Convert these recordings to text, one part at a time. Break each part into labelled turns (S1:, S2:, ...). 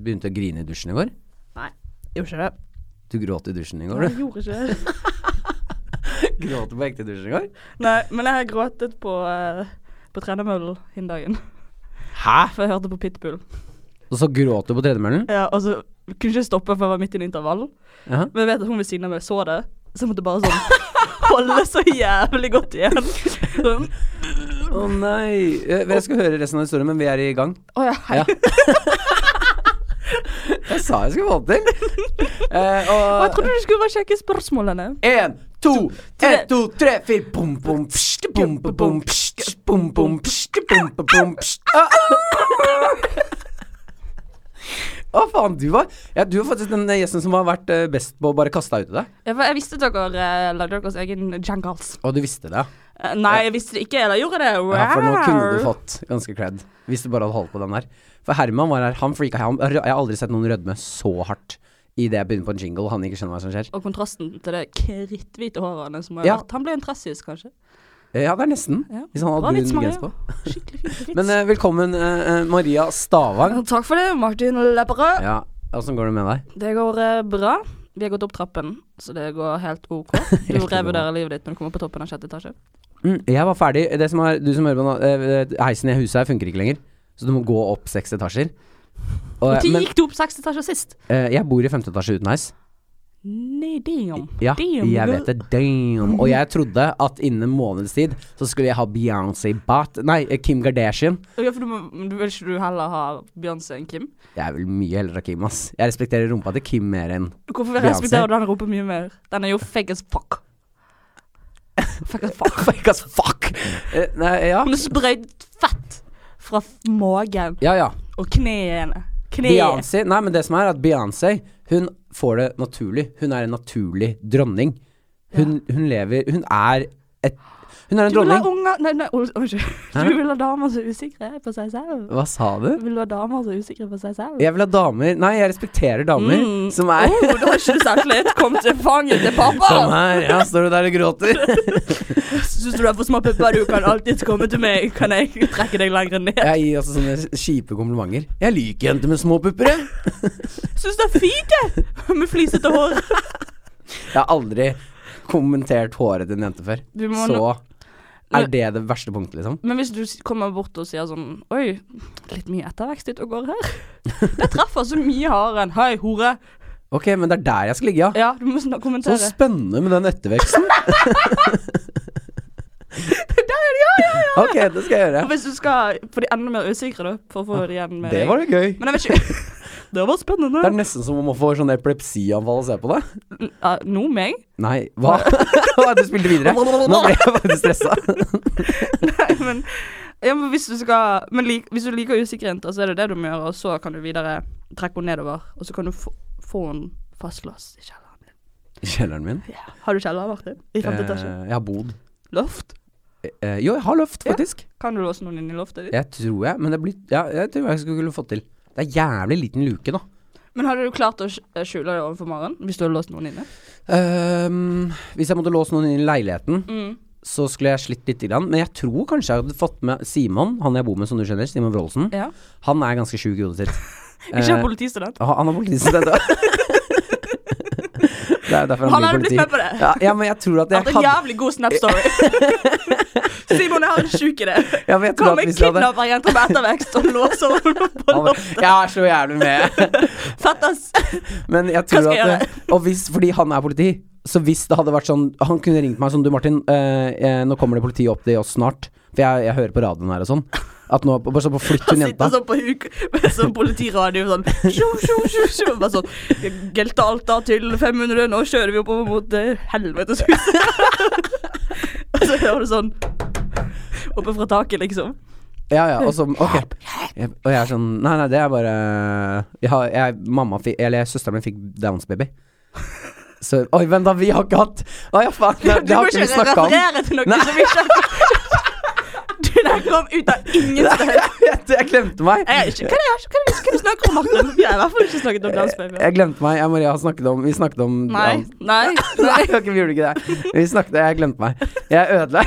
S1: Begynte å grine i dusjen i går?
S2: Nei, jeg gjorde ikke det.
S1: Du gråt i dusjen i går,
S2: Jeg
S1: du?
S2: gjorde ikke det.
S1: Gråt du på ekte i dusjen i går?
S2: Nei, men jeg har gråtet på, uh, på tredemøllen den dagen.
S1: Hæ?
S2: For jeg hørte på Pitbull.
S1: Og så gråt du på tredemøllen?
S2: Ja, og så kunne ikke stoppe for jeg var midt i en intervall.
S1: Ja.
S2: Men jeg vet at hun ved siden av meg så det, så jeg måtte bare sånn holde så jævlig godt igjen. Sånn.
S1: Å nei. Eh, Jeg skal høre resten av historien, men vi er i gang.
S2: Å ja, hei.
S1: Ja. Jeg sa jeg skulle få det til. Eh,
S2: Og jeg
S1: og
S2: trodde du skulle bare sjekke spørsmålene.
S1: én, to,
S2: tre.
S1: én, to, tre, fire Bom, bom, pst, bom, bom, bom, pst, bom, bom, pst, bom, bom, bom, pst. Ah, ah. Å, faen, du var ja, Du er faktisk den gjesten som har vært eh, best på å bare kaste deg ut i det.
S2: Jeg, jeg visste at dere eh, lagde deres egen jangles.
S1: Og du visste det, ja.
S2: Eh, Nei, jeg visste det ikke. Eller gjorde det. Wow.
S1: ja. For nå kunne du fått ganske cred. Hvis du bare hadde holdt på den der. For Herman var her, han freaka han- Jeg har aldri sett noen rødme så hardt idet jeg begynner på en jingle og han ikke skjønner hva som skjer.
S2: Og kontrasten til det kritthvite håret hans. som har
S1: Ja.
S2: vært- Han ble en tressis, kanskje.
S1: Eh, Ja, det er nesten.
S2: Ja.
S1: Hvis han
S2: Bra
S1: hadde
S2: vits,
S1: brun
S2: Maria.
S1: genser på.
S2: Skikkelig fin vits.
S1: Men eh, velkommen, eh, eh, Maria Stavang.
S2: Takk for det, Martin Lepperød.
S1: Ja, åssen går det med deg?
S2: Det går eh, bra. Vi har gått opp trappen, så det går helt OK. Du
S1: Helt ok.
S2: revurderer livet ditt når du kommer på toppen av sjette etasje.
S1: Mm, jeg var ferdig. Det som er, du som hører på nå, eh, heisen i huset her funker ikke lenger. Så du må gå opp seks etasjer. Og,
S2: Når
S1: men
S2: gikk du opp seks etasjer sist?
S1: eh, jeg bor i femte etasje uten heis.
S2: Nei, damn.
S1: Ja,
S2: Damn,
S1: jeg
S2: girl.
S1: vet det. Damn. Og jeg trodde at innen en måneds tid så skulle jeg ha Beyoncé Bat Nei, eh, Kim Kardashian.
S2: Ja, for du, må- du vil ikke du heller ha Beyoncé enn Kim?
S1: Jeg vil mye heller ha Kim, ass. Jeg respekterer rumpa til Kim mer enn
S2: Hvorfor
S1: Beyoncé?
S2: respekterer du den rumpa mye mer? Den er jo fake as fuck. Fake as fuck.
S1: Fuck, ass, fuck! Eh, nei, ja.
S2: Hun er sprøyt fett fra f- magen
S1: Ja, ja.
S2: og knærne. Kneet.
S1: Beyoncé Nei, men det som er at Beyoncé Hun får det naturlig Hun er en naturlig dronning Hun, hun lever Hun er et, Hun er en
S2: Du vil ha
S1: dronning
S2: unger Nei, nei, oi, unnskyld.
S1: Hæ?
S2: Du vil ha damer som er usikre på seg selv.
S1: Hva sa du?
S2: Vil du ha damer som er usikre på seg selv?
S1: Jeg vil ha damer Nei, jeg respekterer damer
S2: Mm.
S1: Som er
S2: Oh, du har ikke sagt litt. Kom til fanget til
S1: Sånn
S2: pappa.
S1: her Ja, står du der og gråter
S2: Syns du du har for små pupper? Du kan alltid komme til meg. Kan jeg trekke deg lenger ned?
S1: Jeg gir altså sånne kjipe komplimenter Jeg liker jenter med små pupper jeg.
S2: Syns det er fint, jeg! Med flisete hår.
S1: Jeg har aldri kommentert håret til en jente før
S2: Du må
S1: Så
S2: nå-
S1: er det det verste punktet liksom
S2: Men hvis du s- kommer bort og sier sånn Oi, litt mye ettervekst ute og går her. Det treffer så mye hardere enn Hei, hore.
S1: Ok, men det er der jeg skal ligge ja
S2: Ja, du må snak-
S1: Så
S2: kommentere.
S1: spennende med den etterveksten. Ok, det skal jeg gjøre.
S2: Og hvis du skal få de enda mer usikre, da, for å få det igjen med
S1: Det
S2: deg.
S1: var det gøy.
S2: Men jeg vet ikke Det var spennende.
S1: Det er nesten som om man får sånn epilepsianfall av å se på det.
S2: Ja, nå meg?
S1: Nei, hva? Hva, du spilte videre? Nå ble jeg faktisk stressa.
S2: Nei, men, ja, men hvis du skal Men lik, hvis du liker usikre jenter, så er det det du må gjøre, og så kan du videre trekke henne nedover, og så kan du få, få henne fastlåst i kjelleren.
S1: I kjelleren min.
S2: Ja. Har du kjeller, Martin? I femte etasje?
S1: Eh, jeg har bod.
S2: Loft?
S1: Eh, jo, jeg har løft, faktisk.
S2: Kan du låse noen inn i loftet ditt?
S1: Jeg tror jeg, men det blir Ja, jeg tror jeg skulle fått til. Det er jævlig liten luke, da.
S2: Men hadde du klart å sk- eh, skjule det overfor Maren hvis du hadde låst noen inne?
S1: Ehm, hvis jeg måtte låse noen inn i leiligheten,
S2: Mm.
S1: så skulle jeg slitt lite grann. Men jeg tror kanskje jeg hadde fått med Simon, han jeg bor med, som du skjønner, Simon Wroldsen.
S2: Ja.
S1: Han er ganske sjuk i hodet sitt.
S2: Ikke
S1: Eh,
S2: en politistudent?
S1: Ah, Han er politistudent òg. Det er jo derfor
S2: Han
S1: han,
S2: hadde
S1: blir
S2: blitt
S1: politi.
S2: med på Altså, det.
S1: Ja, ja, men jeg tror at jeg
S2: Hatt en
S1: hadde
S2: jævlig god Snap-story. Simon, jeg har en sjuk idé.
S1: ja, men jeg tror
S2: Kom
S1: at
S2: en
S1: hvis jeg hadde
S2: kidnapperjente med ettervekst og låser henne på
S1: han,
S2: loftet.
S1: Jeg er så jævlig med.
S2: Fetters.
S1: Men jeg
S2: Hva
S1: tror
S2: skal jeg
S1: at eh, Og hvis, fordi han er politi, så hvis det hadde vært sånn Han kunne ringt meg sånn Du, Martin, eh, eh, nå kommer det politi opp til oss snart. For jeg, jeg hører på radioen her og sånn. At nå Bare så på flytt
S2: Han
S1: hun
S2: sitter
S1: jenta.
S2: sånn på huk med sånn politiradio sånn sjo, sjo, sjo, sjo, Bare sånn Gelte Alta til 500, nå kjører vi oppover mot eh, helveteshuset. og så hører du sånn Oppe fra taket, liksom.
S1: Ja, ja, og så Ok. Jeg, og jeg er sånn Nei, nei, det er bare jeg, har- jeg, Mamma fikk Eller søsteren min fikk Downs baby. Så Oi, hvem da? Vi har ikke hatt Å ja, faen. Det,
S2: Du
S1: det
S2: må
S1: har ikke
S2: ikke
S1: vi snakka om.
S2: referere til noe som ikke Du Den her kom ut av ingen sted.
S1: jeg, jeg glemte meg.
S2: Jeg er ikke, hva er det jeg hva er det- hva er det vi snakker om, Martin? Vi har i hvert fall ikke snakket om landsbaby.
S1: Jeg glemte meg. Jeg og Maria har snakket om Vi snakket om
S2: Nei,
S1: om-
S2: nei,
S1: Nei,
S2: nei.
S1: ok, vi gjorde ikke det. Vi snakket Jeg glemte meg. Jeg ødela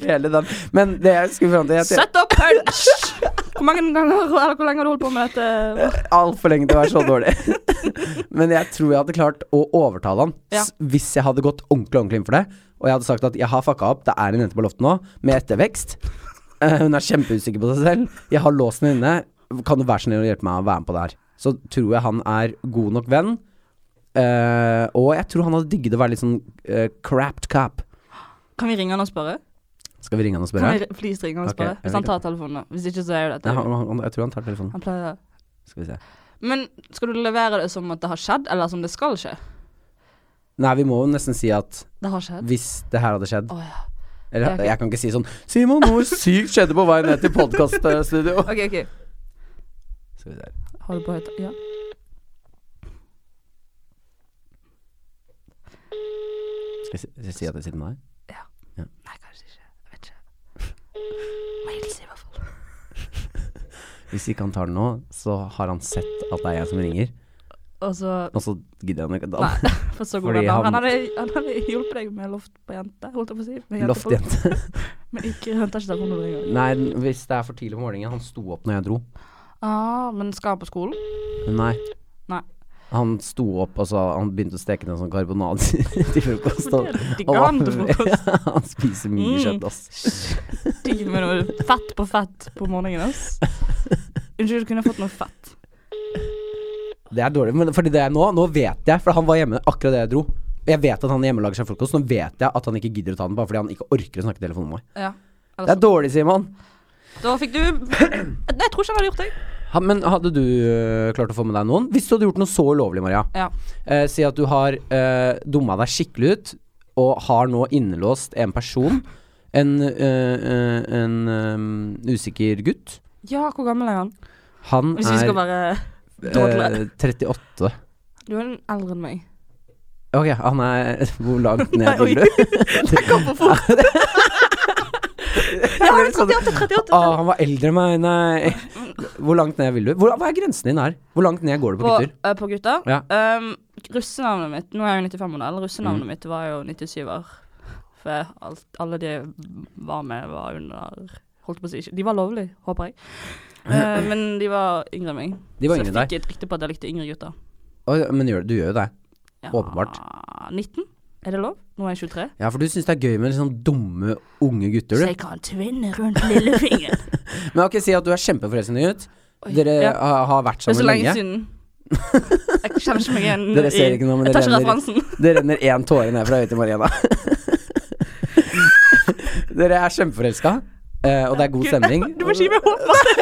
S1: hele den. Men det jeg skulle fram til jeg-
S2: Sett opp punch! Hvor mange ganger, eller hvor lenge har du holdt på med dette?
S1: Altfor lenge til å være så dårlig. Men jeg tror jeg hadde klart å overtale han
S2: Ja.
S1: s- hvis jeg hadde gått ordentlig ordentlig inn for det. Og jeg hadde sagt at jeg har fucka opp, det er en jente på loftet nå, med ettervekst. Eh, Hun er kjempeusikker på seg selv. Jeg har låsen inne. Kan du være så snill å hjelpe meg å være med på det her? Så tror jeg han er god nok venn. Eh, og jeg tror han hadde digget å være litt sånn eh, crapped cap.
S2: Kan vi ringe han og spørre?
S1: Skal vi ringe han og spørre?
S2: Kan vi please ringe han og
S1: Ok,
S2: spørre?
S1: jeg
S2: Hvis han
S1: vil
S2: tar telefonen, da. Hvis ikke, så er jo
S1: Nei,
S2: dette
S1: han, han, jeg tror han tar telefonen.
S2: Han pleier
S1: Skal vi se.
S2: Men skal du levere det som at det har skjedd, eller som det skal skje?
S1: Nei, vi må jo nesten si at
S2: Det har skjedd.
S1: hvis det her hadde skjedd
S2: Å ja.
S1: Eller
S2: Ja, ok.
S1: jeg kan ikke si sånn Simon, noe sykt skjedde på vei ned til podkaststudio.
S2: OK, OK.
S1: Skal vi se her.
S2: Har du på høyt... Ja.
S1: Skal jeg si, skal jeg si at jeg sitter med deg?
S2: Nei, kanskje ikke. Jeg vet ikke. Må hilse, i hvert fall.
S1: Hvis ikke han tar den nå, så har han sett at det er jeg som ringer.
S2: Og så
S1: Og så gidder han ikke da.
S2: Nei, for så god
S1: Fordi
S2: venn han
S1: han-
S2: Han hadde, han hadde hjulpet deg med loft på jente, holdt jeg på å si. Med jente på-
S1: Loftjente.
S2: Men ikke, han tar ikke telefonen når du ringer.
S1: Nei, den- hvis det er for tidlig på morgenen. Han sto opp når jeg dro.
S2: Ah, men skal han på skolen?
S1: Nei.
S2: Nei.
S1: Han sto opp, og så han begynte å steke noen sånn karbonader til frokost. og-
S2: Det er litt
S1: og
S2: gigant
S1: var-
S2: til frokost.
S1: Ja, han spiser mye
S2: Mm.
S1: kjøtt, ass.
S2: Digg med noe fett på fett på morgenen, ass. Unnskyld, du kunne fått noe fett.
S1: Det er dårlig, men fordi det er nå, nå vet jeg, for han var hjemme akkurat da jeg dro. Jeg vet at han er hjemme og lager seg frokost, nå vet jeg at han ikke gidder å ta den bare fordi han ikke orker å snakke i telefonen med meg.
S2: Ja. sånn.
S1: Det er dårlig, Simon.
S2: Da fikk du Nei, jeg tror ikke han hadde gjort det.
S1: Ha, men hadde du øh, klart å få med deg noen? Hvis du hadde gjort noe så ulovlig, Maria.
S2: Ja.
S1: Eh, si at du har eh, dumma deg skikkelig ut, og har nå innelåst en person. En, øh, øh, en øhm, usikker gutt.
S2: Ja, hvor gammel er han?
S1: Han
S2: Hvis vi
S1: er
S2: skal være
S1: eh,
S2: dårlige.
S1: 38.
S2: Du er eldre enn meg.
S1: Ok, han er Hvor langt ned
S2: Nei,
S1: vil du?
S2: Jeg kom for fort. Ja, han er 38, 38.
S1: Ah, han var eldre enn meg, nei. Hvor langt ned vil du? Hvor, hva er grensen din her? Hvor langt ned går det på
S2: På,
S1: gutter?
S2: eh, på gutta?
S1: Ja. Mm.
S2: Um, russenavnet mitt Nå er jeg jo 95-modell. Russenavnet mitt var jo 97-er. For alt, alle de var med, var under Holdt på å si ikke De var lovlige, håper jeg. Eh, men de var yngre enn meg.
S1: De var
S2: så
S1: yngre
S2: jeg
S1: enn
S2: fikk et rykte på at jeg likte yngre gutter.
S1: Oi, men gjør, du gjør jo det.
S2: Ja,
S1: Åpenbart.
S2: 19? Er det lov? Nå er jeg 23.
S1: Ja, for du syns det er gøy med sånn dumme unge gutter,
S2: Så
S1: du.
S2: jeg kan tvinne rundt lillefingeren.
S1: Men ok, si at du er kjempeforelsket i en gutt.
S2: Oi,
S1: Dere
S2: ja.
S1: har- har vært
S2: Det er så
S1: sammen
S2: lenge
S1: lenge.
S2: siden. Jeg kjenner ikke meg igjen.
S1: Dere ser
S2: i-
S1: ikke noe, men det
S2: Jeg tar ikke
S1: renner,
S2: referansen.
S1: det renner én tåre ned fra øyet til Mariana. Dere er kjempeforelska, eh, og det er god stemning.
S2: Du må ikke gi meg håp. Martin.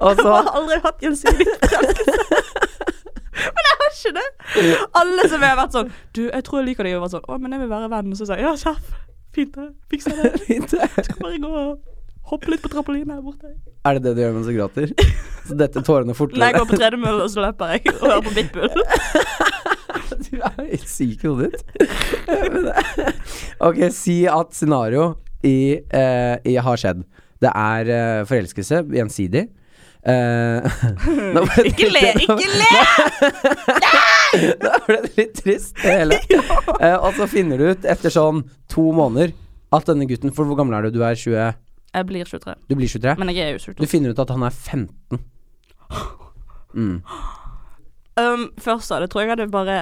S1: Og
S2: Jeg har
S1: så
S2: aldri hatt gjensidig forelskelse. Men jeg har ikke det. Alle som har vært sånn Du, jeg tror jeg liker deg. Og vært sånn Å, men jeg vil være venn. Og så sier jeg ja, kjapp. Fint det. Fikser det. Skal bare gå og hoppe litt på trampolinen her borte.
S1: Er det det du gjør mens du gråter? Så dette tårene
S2: Nei, jeg
S1: fortløper?
S2: går på tredemølle, og så løper jeg. Og hører på Bitbull.
S1: Du er jo helt syk i hodet ditt. Men det- ok, si at scenario i, eh, i har skjedd. Det er eh, forelskelse, gjensidig. Eh, nå ble det-
S2: Ikke le, ikke le!
S1: Da ble det litt trist, det hele. Eh, og så finner du ut etter sånn to måneder at denne gutten For hvor gammel er du? Du er 20
S2: Jeg blir 23,
S1: Du blir 23?
S2: men jeg er jo
S1: Du
S2: 22.
S1: finner ut at han er 15. Mm.
S2: Um, først av det tror jeg jeg hadde bare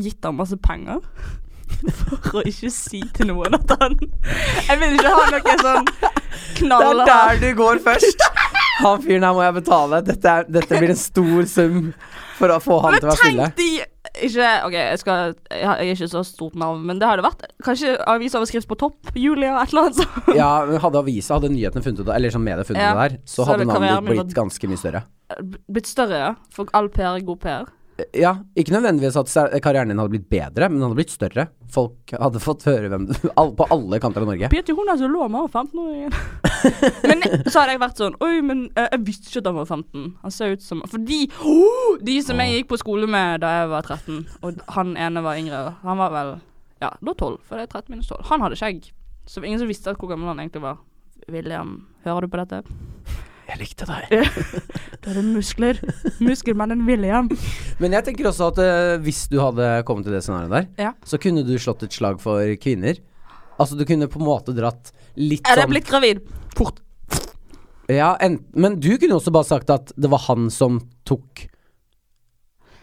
S2: gitt ham masse penger. For å ikke si til noen at han Jeg vil ikke ha noe sånn
S1: Det er
S2: knallhardt
S1: der du går først. Han fyren her må jeg betale. Dette, er, dette blir en stor sum for å få han til å
S2: Men
S1: være stille.
S2: tenk de ikke, OK, jeg, skal, jeg har jeg er ikke så stort navn, men det hadde vært kanskje avisoverskrift på topp. Julia, et eller annet sånt.
S1: Ja, men hadde avisa, hadde nyhetene funnet det, eller sånn media funnet
S2: Ja.
S1: det der, så,
S2: Så
S1: hadde
S2: hadde
S1: navnet
S2: karrieren
S1: ditt
S2: min
S1: blitt ganske mye større.
S2: Blitt større, ja. For all PR er god PR.
S1: Ja, ikke nødvendigvis at ser- karrieren din hadde blitt bedre, men den hadde blitt større. Folk hadde fått høre hvem du all, På alle kanter av Norge.
S2: Peter Jonas lå med han 15-åringen. men så hadde jeg vært sånn Oi, men eh, jeg visste ikke at han var 15. Han ser ut som Fordi oh, de som jeg gikk på skole med da jeg var 13, og han ene var yngre, han var vel Ja, da 12, for det er 13 minus 12. Han hadde skjegg, så det var ingen som visste hvor gammel han egentlig var. William, hører du på dette?
S1: Jeg likte deg.
S2: Da er det muskler. Muskelmannen William.
S1: Men jeg tenker også at eh, hvis du hadde kommet til det scenarioet der,
S2: Ja.
S1: så kunne du slått et slag for kvinner. Altså du kunne på en måte dratt litt
S2: Er jeg
S1: sånn
S2: blitt gravid? Fort.
S1: ja, en, Men du kunne også bare sagt at det var han som tok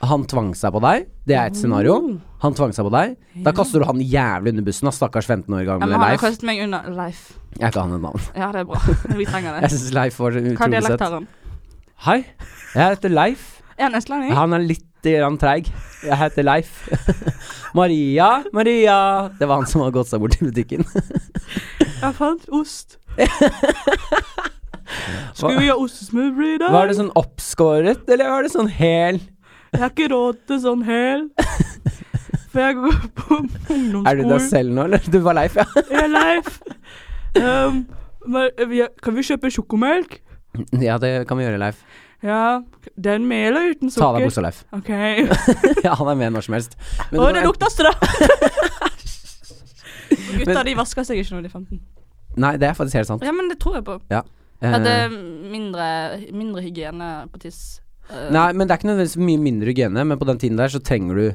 S1: Han tvang seg på deg. Det er et scenario.
S2: Oh.
S1: Han tvang seg på deg. Da kaster du han jævlig under bussen, da, stakkars 15 år
S2: Ja, men
S1: gamle
S2: han har
S1: Leif.
S2: kastet meg under Leif.
S1: Jeg er ikke han et navn.
S2: Ja, det er bra. Vi trenger
S1: Jeg
S2: det.
S1: syns Leif var
S2: Hva
S1: utrolig
S2: dialekt
S1: søt.
S2: har han?
S1: Hei, jeg heter Leif.
S2: Er han østlending?
S1: Han er litt eh, grann treig. Jeg heter Leif. Maria, Maria. Det var han som hadde gått seg bort til butikken.
S2: Jeg fant ost. Skal vi ha ostesmørbrød i dag?
S1: Var det sånn oppskåret, eller var det sånn hel?
S2: Jeg har ikke råd til sånn hæl. For jeg går på
S1: Er du deg
S2: ungdomsskolen.
S1: selv nå, eller? Du var Leif, ja.
S2: Jeg er Leif. Um, men vi- kan vi kjøpe sjokomelk?
S1: Ja, det kan vi gjøre, Leif.
S2: Ja. Den med eller uten
S1: Ta av deg
S2: sukker?
S1: buksa, Leif.
S2: OK.
S1: Ja, han er med når som helst. Men
S2: Å,
S1: du-
S2: det lukter strøm! Gutta,
S1: Men-
S2: de vasker seg ikke når de er 15.
S1: Nei, det er faktisk helt sant.
S2: Ja, men det tror jeg på. At det
S1: Eh,
S2: er mindre, mindre hygiene på tiss. Eh,
S1: nei, men det er ikke nødvendigvis mye mindre hygiene, men på den tiden der så trenger du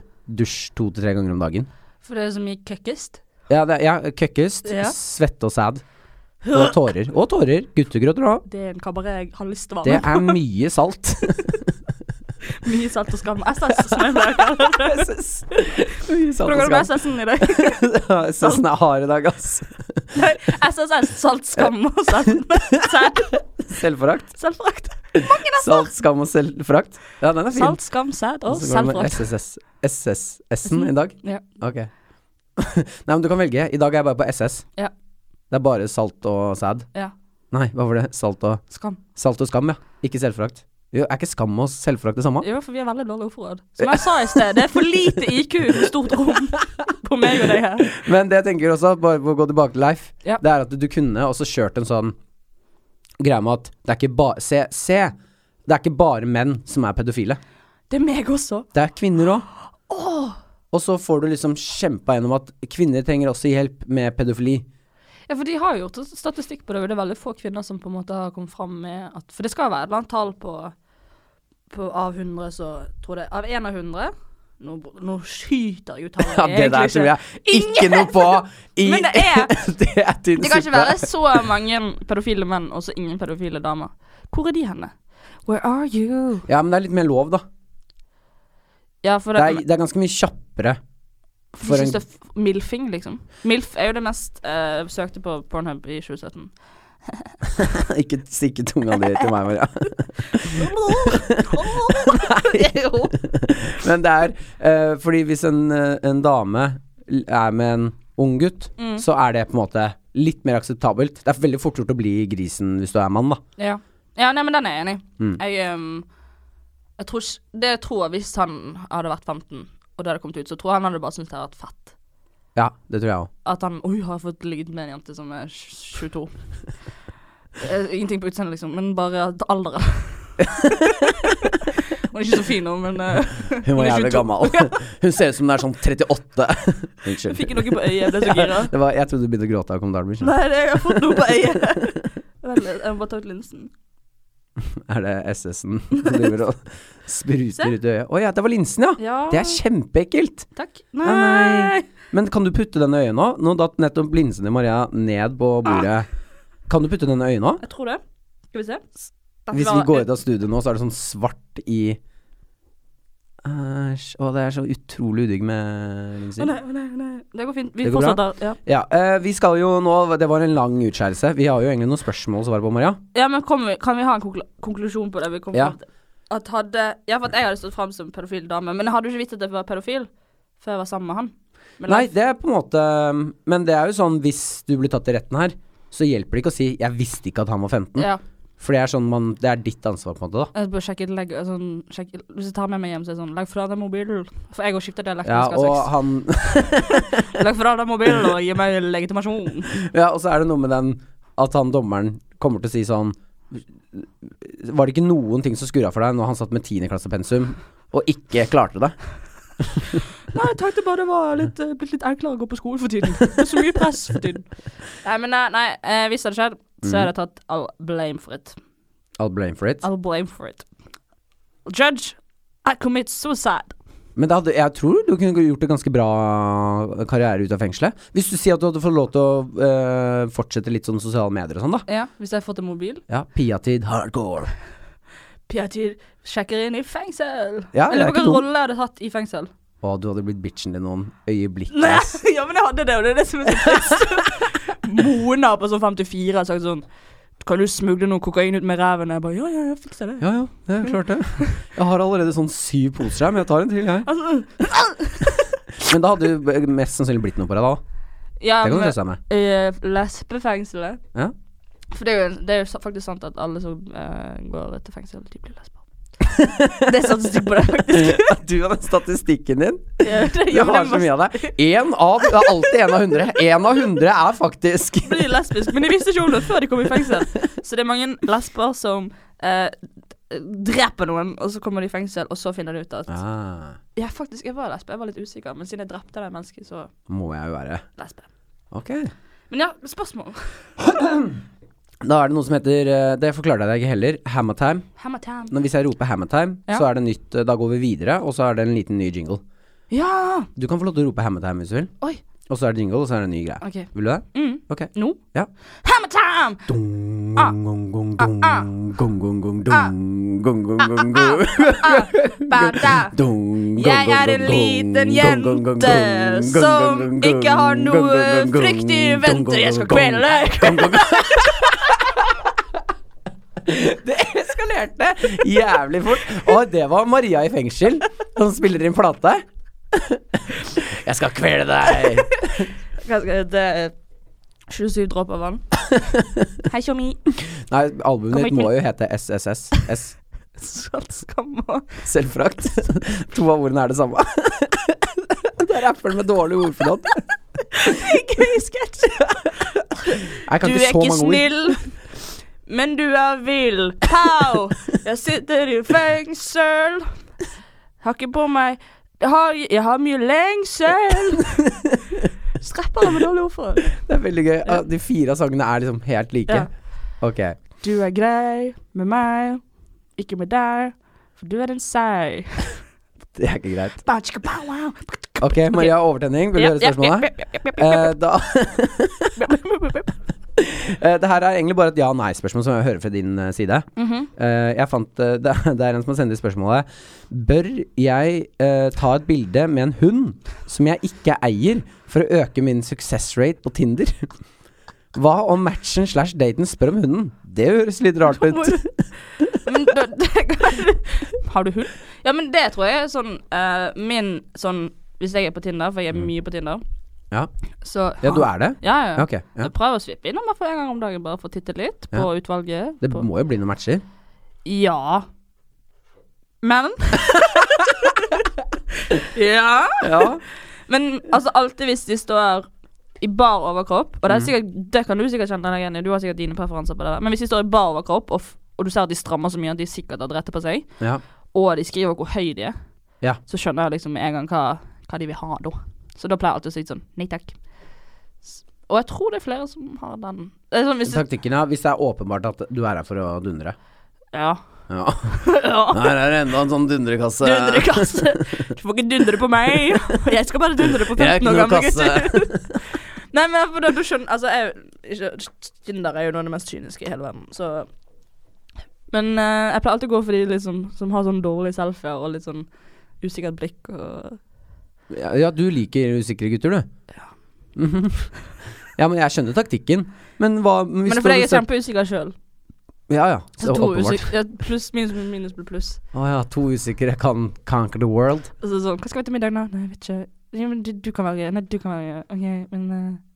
S1: dusj to til tre ganger om dagen.
S2: For det er så mye køkkest.
S1: Ja, det, ja køkkest,
S2: Ja.
S1: svette og sæd. Og tårer. Og tårer. Guttegråter òg.
S2: Det er en kabaret jeg har lyst til å
S1: Det
S2: være med
S1: er mye salt.
S2: på. Mye salt og skam. SS, som jeg pleier å kalle det.
S1: Mye salt
S2: Hvordan går det med
S1: og
S2: SS-en i dag?
S1: skam. Søssen er hard i dag, ass.
S2: Nei, SSS, salt, skam og sæd. Sæd.
S1: Selvforakt.
S2: Selvforakt.
S1: Salt, skam og selvforakt. Ja, den er fin.
S2: Salt, skam, sæd og
S1: Og så går det med
S2: selvforakt.
S1: SSS. SSS-en i dag?
S2: Ja.
S1: Ok. Nei, men du kan velge. I dag er jeg bare på SS.
S2: Ja.
S1: Det er bare salt og sæd.
S2: Ja.
S1: Nei, hva var det? Salt og,
S2: Skam.
S1: salt og skam, ja. Ikke selvforakt. Jo, er ikke skam og selvforakt det samme?
S2: Jo, for vi er veldig dårlige ordforråd. Som jeg sa i sted, det er for lite IQ i for stort rom på meg og deg her.
S1: Men det jeg tenker også, bare for å gå tilbake til Leif,
S2: Ja.
S1: det er at du kunne også kjørt en sånn greie med at det er ikke bare Se, se! Det er ikke bare menn som er pedofile.
S2: Det er meg også.
S1: Det er kvinner òg. Og så får du liksom kjempa gjennom at kvinner trenger også hjelp med pedofili.
S2: Ja, for de har jo gjort statistikk på det, og det er veldig få kvinner som på en måte har kommet fram med at For det skal være et eller annet tall på, på Av 100, så tror jeg Av 1 av 100 Nå, nå skyter jeg ut tallet.
S1: Ja, det der
S2: egentlig
S1: tror
S2: ikke.
S1: jeg ikke noe på i
S2: Men det er-
S1: Det er tynn
S2: Det kan ikke
S1: suppe.
S2: være så mange pedofile menn og så ingen pedofile damer. Hvor er de henne? Where are you?
S1: Ja, men det er litt mer lov, da.
S2: Ja, for
S1: Det
S2: det,
S1: er, det er ganske mye kjappere.
S2: de
S1: For en,
S2: synes det er f- Milfing, liksom. Milf er jo det mest eh, søkte på Pornhub i 2017.
S1: ikke stikke tunga di til meg, Maria.
S2: Jo.
S1: Men det er eh, fordi hvis en, eh, en dame l- er med en ung gutt,
S2: Mm.
S1: så er det på en måte litt mer akseptabelt. Det er veldig fort gjort å bli grisen hvis du er mann, da.
S2: ja. ja, nei, men den er jeg enig i.
S1: Mm.
S2: Jeg, ehm, jeg tror ikke Det jeg tror jeg, hvis han hadde vært 15 og det hadde kommet ut, så tror jeg han hadde bare syntes det hadde vært fett.
S1: Ja, det tror jeg òg.
S2: At han Oi, har jeg fått ligget med en jente som er 22? Eh, Ingenting på utseendet, liksom, men bare at alderen. Hun er ikke så fin nå, men eh,
S1: Hun var
S2: Hun er
S1: jævlig
S2: 22.
S1: gammel. Hun ser ut som hun er sånn 38.
S2: jeg
S1: Unnskyld.
S2: fikk noe på øyet. Jeg ble så gira.
S1: Det var, jeg trodde du begynte å gråte av å komme til Albertsen.
S2: Nei, det, jeg har fått noe på øyet. Vent litt, jeg må bare ta ut linsen.
S1: Er det SS-en som driver og spruter ut i øyet? Å ja, det var linsen, ja!
S2: Ja,
S1: Det er kjempeekkelt!
S2: takk.
S1: Nei.
S2: Nei.
S1: Men kan du putte den i øyet nå? Nå datt nettopp linsen til Maria ned på bordet.
S2: Ah.
S1: Kan du putte den i øyet nå?
S2: Jeg tror det. Skal vi se. Dette
S1: Hvis vi
S2: var-
S1: går ut av studio nå, så er det sånn svart i Æsj. Å, det er så utrolig udigg med
S2: Å,
S1: linser.
S2: Nei, å, nei, å, nei. Det går fint. Vi
S1: Det går bra?
S2: fortsetter. Ja.
S1: Ja, eh, vi skal jo nå Det var en lang utskeielse. Vi har jo egentlig noen spørsmål å svare på, Maria.
S2: ja, men kom, vi- kan vi ha en konklu konklusjon på det vi kom
S1: Ja.
S2: fram til? At hadde Ja, for at jeg hadde stått fram som pedofil dame, men jeg hadde jo ikke visst at jeg var pedofil før jeg var sammen med han. Men
S1: Nei,
S2: da-
S1: det er på en måte Men det er jo sånn, hvis du blir tatt i retten her, så hjelper det ikke å si 'jeg visste ikke at han var 15'.
S2: Ja.
S1: For det er sånn man Det er ditt ansvar, på en måte, da.
S2: Jeg bør sjekke legg, sånn, sjekke, Hvis jeg tar med meg hjem, så er det sånn Legg fra deg mobilen. For jeg har skifta dialekt.
S1: Ja,
S2: når jeg skal
S1: og
S2: ha sex.
S1: han
S2: Legg fra deg mobilen og gi meg legitimasjon.
S1: Ja, og så er det noe med den at han dommeren kommer til å si sånn Var det ikke noen ting som skurra for deg når han satt med tiendeklassepensium og ikke klarte det?
S2: Nei, jeg tenkte bare det var litt, eh, blitt litt enklere å gå på skolen for tiden. Det er så mye press for tiden. Nei, men nei, nei eh, hvis det hadde skjedd, så hadde jeg tatt all blame for it.
S1: I'll blame for it.
S2: I'll blame for it. Judge, I commit suicide.
S1: Men da hadde, jeg tror du kunne gjort en ganske bra karriere ut av fengselet. Hvis du sier at du hadde fått lov til å eh, fortsette litt sånn sosiale medier og sånn, da.
S2: Ja, hvis jeg har fått en mobil.
S1: Ja, Piatid hardcore.
S2: Piatir sjekker inn i fengsel.
S1: Ja, det
S2: Eller
S1: er ikke
S2: hvilken
S1: dumt.
S2: rolle jeg hadde tatt i fengsel.
S1: Å, du hadde blitt bitchen din noen øyeblikk.
S2: Nei,
S1: ass.
S2: ja, men jeg hadde det, og det er det som er så trist. Mona på sånn 54 har sagt sånn Kan du smugle noe kokain ut med ræven? Jeg bare ja, ja, jeg fikser det.
S1: Ja ja, det er klart det. Jeg har allerede sånn syv poser her, men jeg tar en til, jeg.
S2: Altså,
S1: Men da hadde du mest sannsynlig blitt noe på deg, da.
S2: ja,
S1: Det kan du
S2: men,
S1: trøste deg med.
S2: eh, lesbefengselet.
S1: Ja.
S2: For det er, jo, det er jo sa- faktisk sant at alle som eh, går til fengsel, de blir lesber. det er statistikk på det, faktisk.
S1: Du og den statistikken din.
S2: Ja, det,
S1: Du har så mye av det. Én av Det er alltid én av hundre. Én av hundre er faktisk
S2: blir lesbisk, men de visste ikke om det før de kom i fengsel. Så det er mange lesber som eh, d- dreper noen, og så kommer de i fengsel, og så finner de ut at
S1: ah,
S2: Ja, faktisk, jeg var lesbe, jeg var litt usikker, men siden jeg drepte det mennesket, så
S1: Må jeg jo være.
S2: lesbe.
S1: Ok.
S2: Men ja, spørsmål.
S1: Da er det noe som heter eh, Det forklarer jeg deg ikke heller. Hammertime.
S2: Hammer time.
S1: Når- Hvis jeg roper Hammertime,
S2: Ja.
S1: så er det nytt. eh, Da går vi videre, og så er det en liten ny jingle.
S2: Ja!
S1: Du kan få lov til å rope Hammertime hvis du vil.
S2: Oi.
S1: Og så er det jingle, og så er det en ny greie.
S2: OK.
S1: Vil du det?
S2: Mm.
S1: Ok.
S2: Nå?
S1: Ja.
S2: Hammer time!
S1: Dung,
S2: Ah.
S1: gong, gong,
S2: Ah,
S1: gong,
S2: ah.
S1: gong, gong, gong,
S2: Ah.
S1: dung, gong, gong, gong,
S2: Ah,
S1: gong.
S2: ah, bada.
S1: Dung, gong,
S2: Jeg er
S1: gong,
S2: en
S1: gong,
S2: liten
S1: gong, gong, gong, gong, gong,
S2: jente
S1: gong,
S2: som
S1: gong,
S2: ikke har
S1: gong,
S2: noe
S1: gong, gong,
S2: frykt i
S1: gong,
S2: vente. Jeg skal
S1: gong, gong,
S2: kvele deg.
S1: gong, gong, gong.
S2: Eskalerte.
S1: Jævlig fort. Og det var Maria i fengsel som spiller inn plate. Jeg skal kvele deg.
S2: Hva skal det er 27 dråper vann. Hei, tjommi.
S1: Nei, albumet
S2: Kommer
S1: ditt
S2: ikke
S1: må jo hete SSS. S.
S2: Saltskamma.
S1: Selvfrakt. To av ordene er det samme. Det er rapperen med dårlig ordforråd.
S2: Gøy sketsj.
S1: Jeg
S2: Du
S1: kan
S2: er
S1: ikke så
S2: ikke
S1: mange ord.
S2: snill, men du er vill. Pow! Jeg sitter i fengsel. Har ikke på meg Jeg har, jeg har mye lengsel. Strapper med dårlig ordforråd.
S1: Det er veldig gøy. Ah, De fire av sangene er liksom helt like.
S2: Ja.
S1: Ok.
S2: Du er grei med meg, ikke med deg, for du er en seig.
S1: Det er ikke greit.
S2: Bow, chicka, bow, wow.
S1: Ok, Maria Overtenning, vil du
S2: Ja,
S1: høre
S2: ja,
S1: spørsmålet?
S2: ja, ja, ja, ja, ja,
S1: Eh, da,
S2: ja, ja.
S1: eh, det her er egentlig bare et ja- og nei-spørsmål som jeg hører fra din eh, side.
S2: Mhm.
S1: Eh, jeg fant, eh, det, er- det er en som har sendt inn spørsmålet. Bør jeg eh, ta et bilde med en hund som jeg ikke eier, for å øke min success rate på Tinder? Hva om matchen slash daten spør om hunden? Det høres litt rart ut.
S2: Men da, det, har du hund? Ja, men det tror jeg er sånn eh, Min sånn Hvis jeg er på Tinder, for jeg er mye på Tinder,
S1: Ja,
S2: så
S1: Mm. ja du er det?
S2: Ja, ja.
S1: Ja, Ok. Ja.
S2: Jeg prøver å svippe innom hvert fall en gang om dagen, bare for å titte litt på utvalget.
S1: Det
S2: på,
S1: må jo bli noen matcher.
S2: ja. Men Ja.
S1: Ja.
S2: Men altså, alltid hvis de står i bar overkropp Og det,
S1: Mm.
S2: er sikkert, det kan du sikkert kjenne deg igjen i, du har sikkert dine preferanser på det. der Men hvis de står i bar overkropp, og, f og du ser at de strammer så mye at de sikkert har drettet på seg,
S1: ja.
S2: og de skriver hvor høy de er,
S1: Ja.
S2: så skjønner jeg liksom med en gang hva, hva de vil ha da. Så da pleier jeg alltid å si sånn nei takk. S- Og jeg tror det er flere som har den. Det er sånn hvis du,
S1: Taktikken, ja. Hvis det er åpenbart at du er her for å dundre.
S2: ja.
S1: Ja.
S2: ja.
S1: Her er det enda en sånn dundrekasse.
S2: Dundrekasse. Du får ikke dundre på meg. Jeg skal bare dundre på 15 år gamle gutter. Nei, men for da, du skjønner Altså, jeg, ikke, Tinder er jo noe av det mest kyniske i hele verden, så Men eh, jeg pleier alltid å gå for de liksom, som har sånn dårlige selfier og litt sånn usikkert blikk og
S1: Ja, ja, du liker usikre gutter, du.
S2: Ja.
S1: Mhm. ja, men jeg skjønner taktikken. Men hva men hvis
S2: Men det er fordi jeg er
S1: du hadde
S2: kjempeusikker sjøl.
S1: sett- Ja, ja.
S2: Så to
S1: åpenbart.
S2: usik- ja, Pluss, minus, minus blir pluss.
S1: Å ja, to usikre kan conquer the world.
S2: Og så sånn Hva skal vi til middag nå? Nei, jeg vet ikke. Ja, men du, du kan velge. Nei, du kan velge. OK, men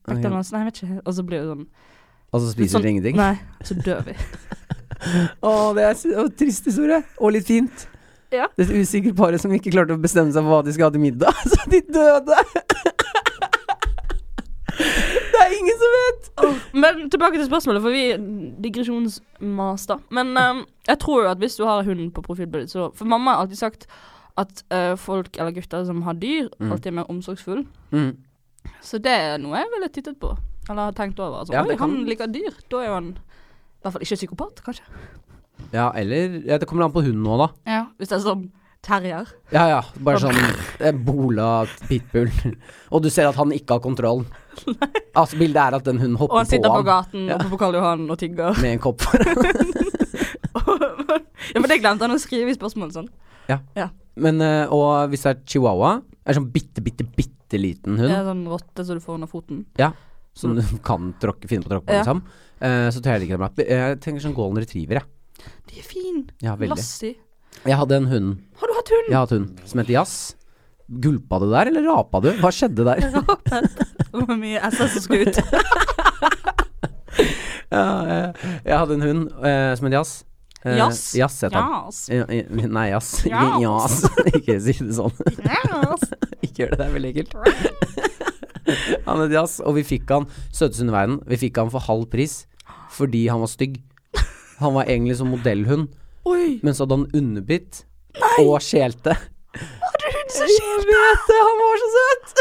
S2: eh, McDonald's? Nei, jeg vet ikke. Og så blir det sånn.
S1: Og så spiser
S2: Sånn-
S1: dere ingenting.
S2: Nei, så dør vi.
S1: Å, det er s- å, trist historie. Og litt fint.
S2: Ja.
S1: Det usikre paret som ikke klarte å bestemme seg for hva de skal ha til middag, så de døde. det er ingen som vet.
S2: Men tilbake til spørsmålet, for vi digresjonsmaster. Men ehm, jeg tror jo at hvis du har hund på profilbildet, så For mamma har alltid sagt at eh, folk, eller gutter som har dyr, alltid er mer omsorgsfulle.
S1: Mm.
S2: Så det er noe jeg ville tittet på. Eller har tenkt over. Altså,
S1: Ja,
S2: Oi,
S1: det kan-
S2: han liker dyr. Da er jo han i hvert fall ikke psykopat, kanskje.
S1: Ja, eller ja, Det kommer an på hunden nå, da.
S2: Ja. Hvis det er sånn terrier.
S1: Ja ja, bare sånn eh, bola pitbull. Og du ser at han ikke har kontroll. Altså, bildet er at den hunden
S2: Og
S1: hopper
S2: han sitter
S1: på
S2: på
S1: ham
S2: gaten oppe på Karl Johan og tigger.
S1: med en kopp foran.
S2: ja, men det glemte han å skrive i spørsmålet sånn.
S1: Ja.
S2: Ja.
S1: Men, eh, og hvis det er chihuahua, er sånn bitte, bitte, bitte liten
S2: Det
S1: hund,
S2: er sånn rotte som du får under foten.
S1: ja, som du kan tråkke, finne på å tråkke på,
S2: Mm. Ja.
S1: liksom, eh, så tror jeg ikke det er bra. Jeg tenker sånn golden retriever, jeg.
S2: De er fine.
S1: Ja, veldig.
S2: Lassie.
S1: Jeg hadde en hund,
S2: Har du hatt hund?
S1: jeg har hatt hund, som heter Jazz. Gulpa du der, eller rapa du? Hva skjedde der?
S2: Rapet. Det var mye SS som skulle ut.
S1: Ja, eh, jeg hadde en hund eh, som het Jazz. Eh,
S2: Jazz?
S1: Jazz heter han.
S2: Jas.
S1: Ja, i- Nei, jazz.
S2: Jazz.
S1: Jazz. Ikke si det sånn.
S2: Jas.
S1: Ikke gjør det, det er veldig ekkelt. Han het Jazz, og vi fikk han søteste under verden. Vi fikk han for halv pris fordi han var stygg. Han var egentlig som modellhund,
S2: Oi.
S1: men så hadde han underbitt og skjelte.
S2: Har du hund som
S1: Jeg vet det, han var så søt!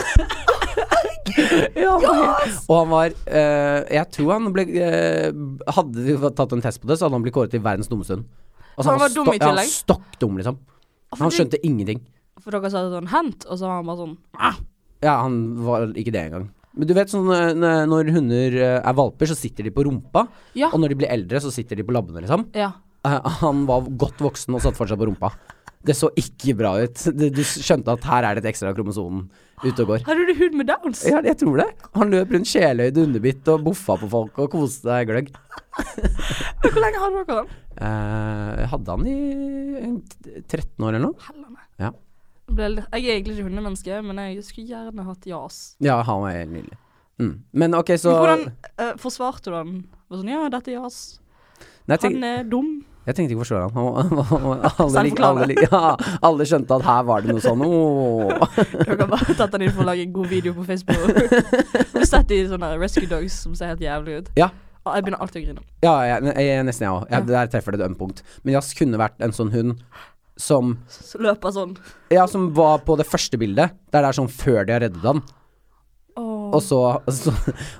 S1: ja, han var- Og han var eh, Jeg tror han ble eh, Hadde vi tatt en test på det, så hadde han blitt kåret til verdens dummeste hund. Altså,
S2: Så han var dum i
S1: sto- ja,
S2: tillegg?
S1: Stokk dum, liksom. Han
S2: fordi-
S1: skjønte ingenting.
S2: For dere sa det sånn hent, og så var han bare sånn ah.
S1: Ja, han var ikke det engang. Men du vet sånn eh, n- når hunder eh, er valper, så sitter de på rumpa.
S2: Ja.
S1: Og når de blir eldre, så sitter de på labbene, liksom.
S2: Ja.
S1: Eh, han var godt voksen og satt fortsatt på rumpa. Det så ikke bra ut. Du, du skjønte at her er det et ekstra kromosom ute og går.
S2: Hadde du hund med downs?
S1: Ja, jeg tror det. Han løp rundt sjeløyd underbitt og boffa på folk og koste seg gløgg.
S2: Hvor lenge hadde dere den?
S1: Eh, jeg hadde han i en t- 13 år eller noe.
S2: Helvete.
S1: Ja,
S2: Jeg ble litt- jeg er egentlig ikke hundemenneske, men jeg skulle gjerne hatt jas.
S1: ja han var helt nydelig. Mm. Men ok, så
S2: Men hvordan eh, forsvarte du han? Var sånn, ja, dette er jas.
S1: Nei, jeg, tenk,
S2: Han er dum.
S1: jeg tenkte ikke å forstå han. han, var- han var- alle,
S2: Selv
S1: lik, alle, lik, ja, alle skjønte at her var det noe sånn åh.
S2: Dere har bare tatt han inn for å lage en god video på Facebook. Og sett de sånne rescue dogs som ser helt jævlig ut.
S1: Ja,
S2: Og jeg begynner alltid å grine.
S1: ja jeg, jeg, nesten jeg òg. Der treffer det et ømt punkt. Men Jazz kunne vært en sånn hund som
S2: Så løper jeg sånn.
S1: Ja, som var på det første bildet. Der det er sånn før de har reddet han.
S2: Åh.
S1: Og så, så,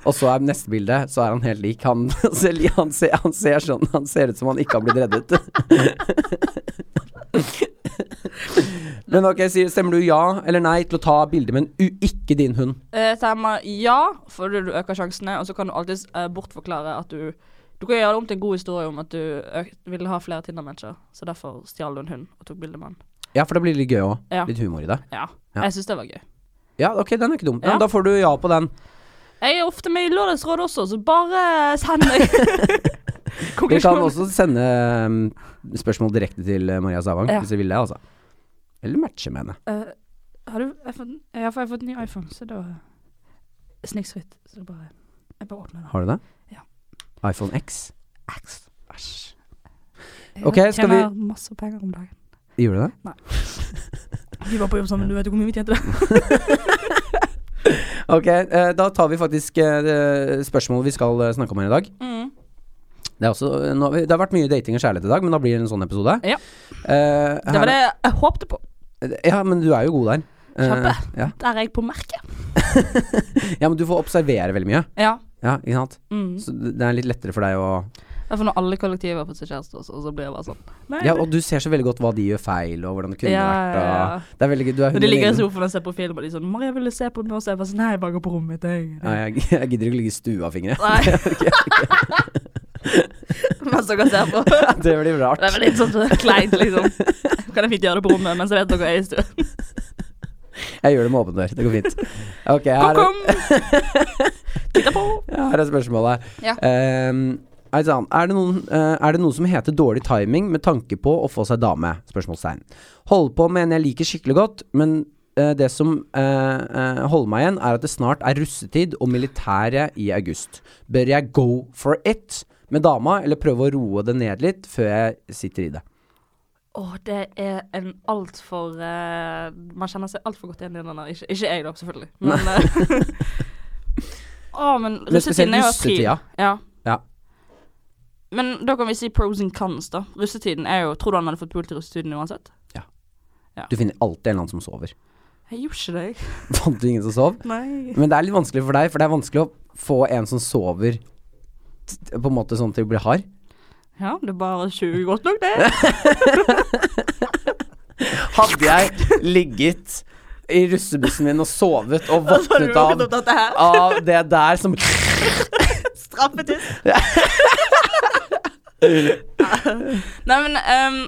S1: og så er neste bilde, så er han helt lik. Han, ser- han, ser, han ser sånn Han ser ut som han ikke har blitt reddet. Men ok, sier- stemmer du ja eller nei til å ta bilde med en u ikke din hund?
S2: Eh, Stemmer ja, for du øker sjansene, og så kan du alltids eh, bortforklare at du Du kan gjøre det om til en god historie om at du øk, ville ha flere Tinder-matcher, så derfor stjal du en hund og tok bilde med den.
S1: Ja, for da blir det litt gøy òg.
S2: Ja.
S1: Litt humor i det.
S2: Ja.
S1: Ja.
S2: Jeg syns det var gøy.
S1: Ja, ok, den er ikke dum. Ja,
S2: Ja.
S1: men Da får du ja på den.
S2: Jeg er ofte med i Lørdagsrådet også, så bare send meg
S1: Du kan
S2: konklusjonen.
S1: også sende um, spørsmål direkte til eh, Maria Savang
S2: Ja.
S1: hvis du vil det, altså. Eller matche med henne.
S2: Eh, har du jeg har fått, Ja, for jeg har fått ny iPhone, så da Snikskritt. Så det bare Jeg bare åpner den.
S1: Har du det?
S2: Ja.
S1: iPhone X?
S2: Æsj.
S1: Ok, skal vi-
S2: Jeg tjener masse penger om dagen.
S1: Gjorde du det?
S2: Vi var på jobb sammen, du vet jo hvor mye vi tjente.
S1: Ok, eh, da tar vi faktisk eh, det spørsmålet vi skal eh, snakke om her i dag.
S2: Mm.
S1: Det, er også, eh, nå, har vi- det har vært mye dating og kjærlighet i dag, men da blir det en sånn episode.
S2: Ja.
S1: Eh,
S2: Det
S1: her-
S2: var det jeg håpte på.
S1: Ja, men du er jo god der. Eh,
S2: Kjempe.
S1: ja.
S2: Der er jeg på merket.
S1: ja, men du får observere veldig mye.
S2: Ja.
S1: Ja, ikke sant?
S2: Mm.
S1: Så det det er litt lettere for deg å
S2: Derfor når alle kollektiver har fått seg kjæreste også, og så blir jeg bare sånn. Nei,
S1: Ja, og du ser så veldig godt hva de gjør feil, og hvordan det kunne
S2: Ja,
S1: vært. Og,
S2: ja, ja.
S1: Det er veldig gøy. Du er
S2: Når de
S1: hunden
S2: ligger i
S1: egen.
S2: sofaen og ser på film, og de er sånn 'Maria ville se på meg', og så er jeg bare sånn 'Nei, jeg bare går på rommet mitt, jeg'.
S1: Nei, jeg, jeg gidder ikke ligge i stua, fingre.
S2: Nei. mens dere ser på. Det
S1: Det blir
S2: er
S1: rart.
S2: vel litt sånn kleint, liksom. Kan jeg fint gjøre det på rommet, mens jeg vet dere er i stua.
S1: Jeg gjør det med åpen dør. Det går fint. Ok,
S2: Kom,
S1: her,
S2: kom! Titta på!
S1: Ja, Her er spørsmålet.
S2: Ja.
S1: Ehm, er det sant? er, det noen, eh, er det noe som heter dårlig timing med tanke på å få seg dame? Spørsmålstegn. Holder på med en jeg liker skikkelig godt, men eh, det som eh, eh, holder meg igjen, er at det snart er russetid og militære i august. Bør jeg go for it med dama, eller prøve å roe det ned litt før jeg sitter i det?
S2: Åh, det er en altfor uh, Man kjenner seg altfor godt igjen i den der. Ikke, ikke jeg, da, selvfølgelig. Men eh, Åh, men
S1: spesielt
S2: russetiden er jo april.
S1: russetida.
S2: Ja.
S1: Ja.
S2: Men da kan vi si pros and cons, da. Russetiden er jo Tror du han hadde fått pult i russetiden uansett?
S1: Ja.
S2: Ja.
S1: Du finner alltid en eller annen som sover.
S2: Jeg gjorde ikke det, jeg.
S1: Fant du ingen som sov?
S2: Nei.
S1: Men det er litt vanskelig for deg, for det er vanskelig å få en som sover t- på en måte sånn til å bli hard.
S2: Ja, det er bare 20 godt nok, det.
S1: Hadde jeg ligget i russebussen min og sovet og
S2: Og så har du
S1: våknet
S2: våknet
S1: av,
S2: opp til dette her.
S1: av det der som
S2: Straffetiss. Nei, men ehm,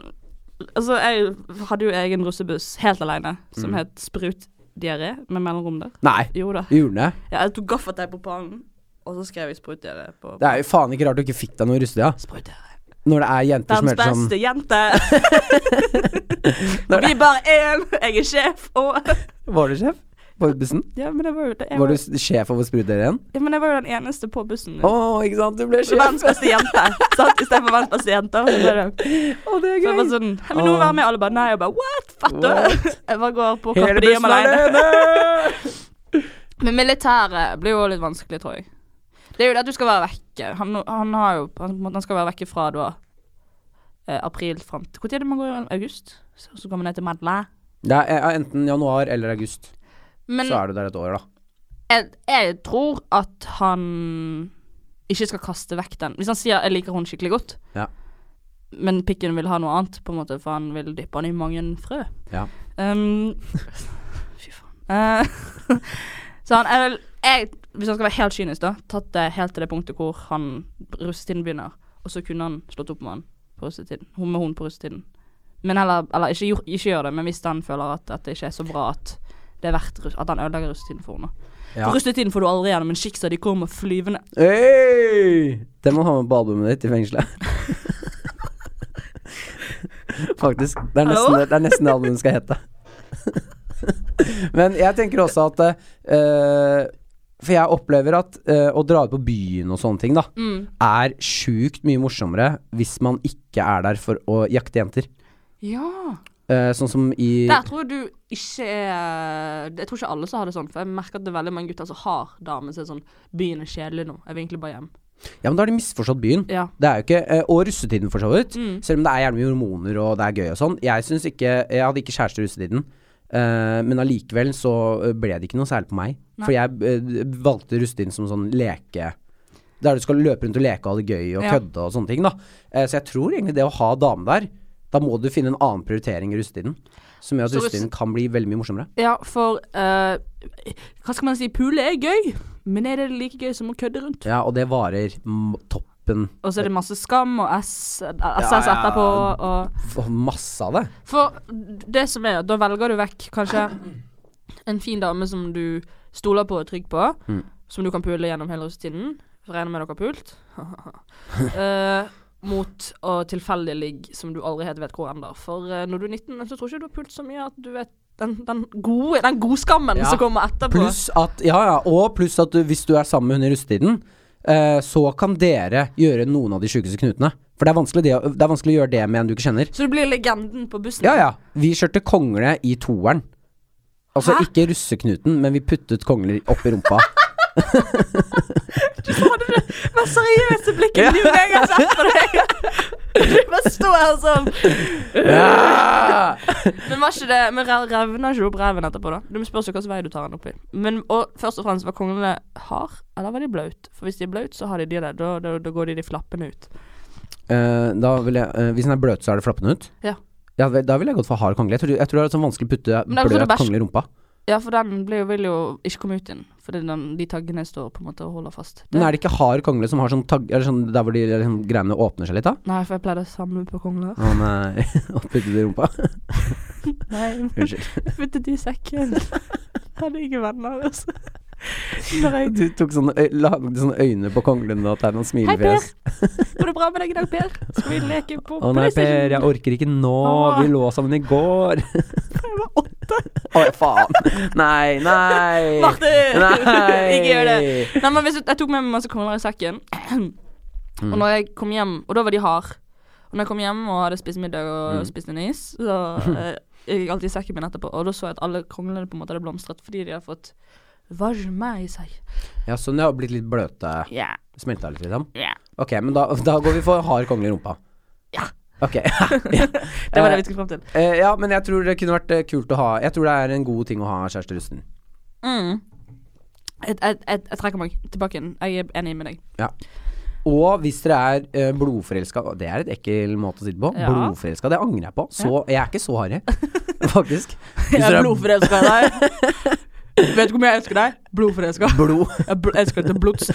S2: Altså, jeg hadde jo egen russebuss helt alene, som
S1: Mm.
S2: het Sprutdiaré, med mellomrom der.
S1: Nei,
S2: Jo da.
S1: gjorde det?
S2: Ja, jeg tok gaffateip på pannen, og så skrev jeg sprutdiaré på
S1: Det er jo faen ikke rart du ikke fikk deg noe i russetida.
S2: Sprutdiaré.
S1: Når det er jenter som
S2: Verdens
S1: heter sånn
S2: beste jente. Og vi er bare én. Jeg er sjef, og
S1: Var du sjef på bussen?
S2: Ja, men jeg var jo det jeg
S1: Var
S2: var,
S1: du s- sjef over spruteren?
S2: ja, men jeg var jo den eneste på bussen.
S1: Å, ikke sant? Du ble sjef.
S2: Verdens beste jente. Sant? Istedenfor verdens beste jente. Og så ble det
S1: Å, det er
S2: Så jeg var
S1: gøy.
S2: sånn «Hei, Men nå være med alle bare Nei, jeg bare What? Fatter
S1: What?
S2: du? Jeg bare går på
S1: Hele
S2: Carpe Diem
S1: bussen
S2: alene.
S1: alene!
S2: Men militæret blir jo litt vanskelig, tror jeg. Det er jo det at du skal være vekke. Han, han har jo han, på en måte, han skal være vekke fra da eh, april fram til Når er det man går? i August? Så, så går man ned til Madla.
S1: Det er eh, enten januar eller august.
S2: Men
S1: Så er du der et år, da.
S2: jeg, jeg tror at han ikke skal kaste vekk den. Hvis han sier 'jeg liker hun skikkelig godt',
S1: Ja.
S2: men pikken vil ha noe annet, på en måte, for han vil dyppe han i mange frø.
S1: Ja.
S2: Um, fy faen. Eh, så han er vel jeg, Hvis han skal være helt kynisk, da, tatt det helt til det punktet hvor han russetiden begynner, og så kunne han slått opp med han på russetiden. Hun med hun på russetiden. Men heller, eller ikke, gjort- ikke gjør det, men hvis han føler at dette ikke er så bra at det er verdt russ- at han ødelegger russetiden for henne.
S1: Ja.
S2: For russetiden får du aldri gjennom en skiksa, de kommer flyvende.
S1: Hey! Det må du ha med på albumet ditt i fengselet. Faktisk. Det er nesten,
S2: Hallo?
S1: det, det, er nesten det albumet skal hete. Men jeg tenker også at eh, For jeg opplever at eh, å dra ut på byen og sånne ting, da, er sjukt mye morsommere hvis man ikke er der for å jakte jenter.
S2: Ja.
S1: Eh, sånn som i
S2: Der tror jeg du ikke er Jeg tror ikke alle som har det sånn, for jeg merker at det er veldig mange gutter som har damer som er sånn Byen er kjedelig nå, jeg vil egentlig bare hjem.
S1: Ja, men da har de misforstått byen.
S2: Ja.
S1: Det er jo ikke, eh, Og russetiden, for så vidt. Selv om det er gjerne mye hormoner og det er gøy og sånn. Jeg synes ikke, jeg hadde ikke kjæreste i russetiden, eh, men allikevel så eh, ble det ikke noe særlig på meg. For jeg eh, valgte russetiden som sånn leke... Der du skal løpe rundt og leke og ha det gøy og
S2: Ja.
S1: kødde og sånne ting. da Eh, Så jeg tror egentlig det å ha dame der Da må du finne en annen prioritering i russetiden. Som gjør at
S2: Så russ-
S1: russetiden kan bli veldig mye morsommere.
S2: Ja, for eh, Hva skal man si? Pule er gøy, men er det like gøy som å kødde rundt?
S1: Ja, Og det varer m toppen
S2: Og så er det masse skam og S, SS
S1: Ja, ja.
S2: etterpå og
S1: for masse av det.
S2: For det som er, da velger du vekk kanskje en fin dame som du stoler på og er trygg på,
S1: Mm.
S2: som du kan pule gjennom hele russetiden. Regner med dere har pult. Eh, mot å tilfeldig ligge som du aldri helt vet hvor ender. For eh, når du er 19, så tror jeg ikke du har pult så mye at du vet den, den gode Den godskammen
S1: Ja.
S2: som kommer etterpå.
S1: Pluss at, ja, ja, og pluss at du, hvis du er sammen med hun i russetiden, eh, så kan dere gjøre noen av de sjukeste knutene. For det er, vanskelig det, å- det er vanskelig å gjøre det med en du ikke kjenner.
S2: Så du blir legenden på bussen.
S1: Ja, ja. Vi kjørte kongle i toeren. Altså
S2: Hæ?
S1: ikke russeknuten, men vi puttet kongler opp i rumpa.
S2: Du hadde det mest seriøse blikket du jeg har sett på deg. Du bare står her sånn.
S1: Ja!
S2: Men var ikke det Men rev- revner ikke du opp reven etterpå, da? Du spørs jo hvilken vei du tar den opp i. Men og først og fremst, var konglene hard, eller var de blaut? For hvis de er blaut, så har de de der. Da, da, da går de de flappene ut.
S1: Eh, da vil jeg, eh, hvis den er bløt, så er det flappende ut?
S2: Ja.
S1: Ja, vel, da ville jeg gått for hard kongle. Jeg tror, jeg tror det er sånn vanskelig å putte
S2: Men da får du
S1: bløt
S2: bæsj.
S1: kongle i rumpa.
S2: Ja, for den blir jo, vil jo ikke komme ut igjen. Fordi den, de taggene står på en måte og holder fast. Det-
S1: Men er det ikke hard kongle som har sånn tagg... Eller sånn der hvor de liksom, greiene åpner seg litt, da?
S2: Nei, for jeg pleide å samle på kongler.
S1: Å nei. Og putte det i rumpa.
S2: Nei,
S1: Unnskyld.
S2: jeg puttet de i sekken. Hadde ikke venner, altså. Når jeg
S1: Du tok sånne, øy- lagde sånne øyne på konglen og tegna
S2: Hei, Per.
S1: smilefjes.
S2: Går det bra med deg i dag, Per? Skal vi leke på
S1: Å nei, Per, jeg orker ikke nå.
S2: Åh.
S1: Vi lå sammen i går.
S2: Jeg var åtte.
S1: Å, faen. Nei, nei.
S2: Martin!
S1: Nei.
S2: Ikke gjør det. Nei, men hvis, Jeg tok med meg masse kongler i sekken.
S1: Mm.
S2: Og når jeg kom hjem Og da var de hard. Og når jeg kom hjem og hadde spist middag
S1: Mm.
S2: og spist en is, så eh, gikk jeg alltid i sekken min etterpå. Og da så jeg at alle konglene på en måte hadde blomstret fordi de hadde fått varme i seg.
S1: Ja, sånn det har blitt litt bløte.
S2: Ja,
S1: Smelta litt, liksom.
S2: ja,
S1: Ok, men da, da går vi for hard kongle i rumpa.
S2: ja.
S1: Ok. ja.
S2: Det var det vi skulle fram til.
S1: Eh, ja, men jeg tror det kunne vært eh, kult å ha Jeg tror det er en god ting å ha kjæreste russen.
S2: Mm. Jeg, jeg, jeg, jeg trekker meg tilbake igjen. Jeg er enig med deg.
S1: Ja. Og hvis dere er eh, blodforelska og Det er et ekkel måte å si det på.
S2: Ja.
S1: Blodforelska, det angrer jeg på. Så Jeg er ikke så harry, faktisk. Hvis
S2: Jeg er
S1: dere er
S2: blodforelska i deg. Vet du hvor mye jeg elsker deg? Blodforelska.
S1: blod
S2: Jeg bl- elsker deg til blods.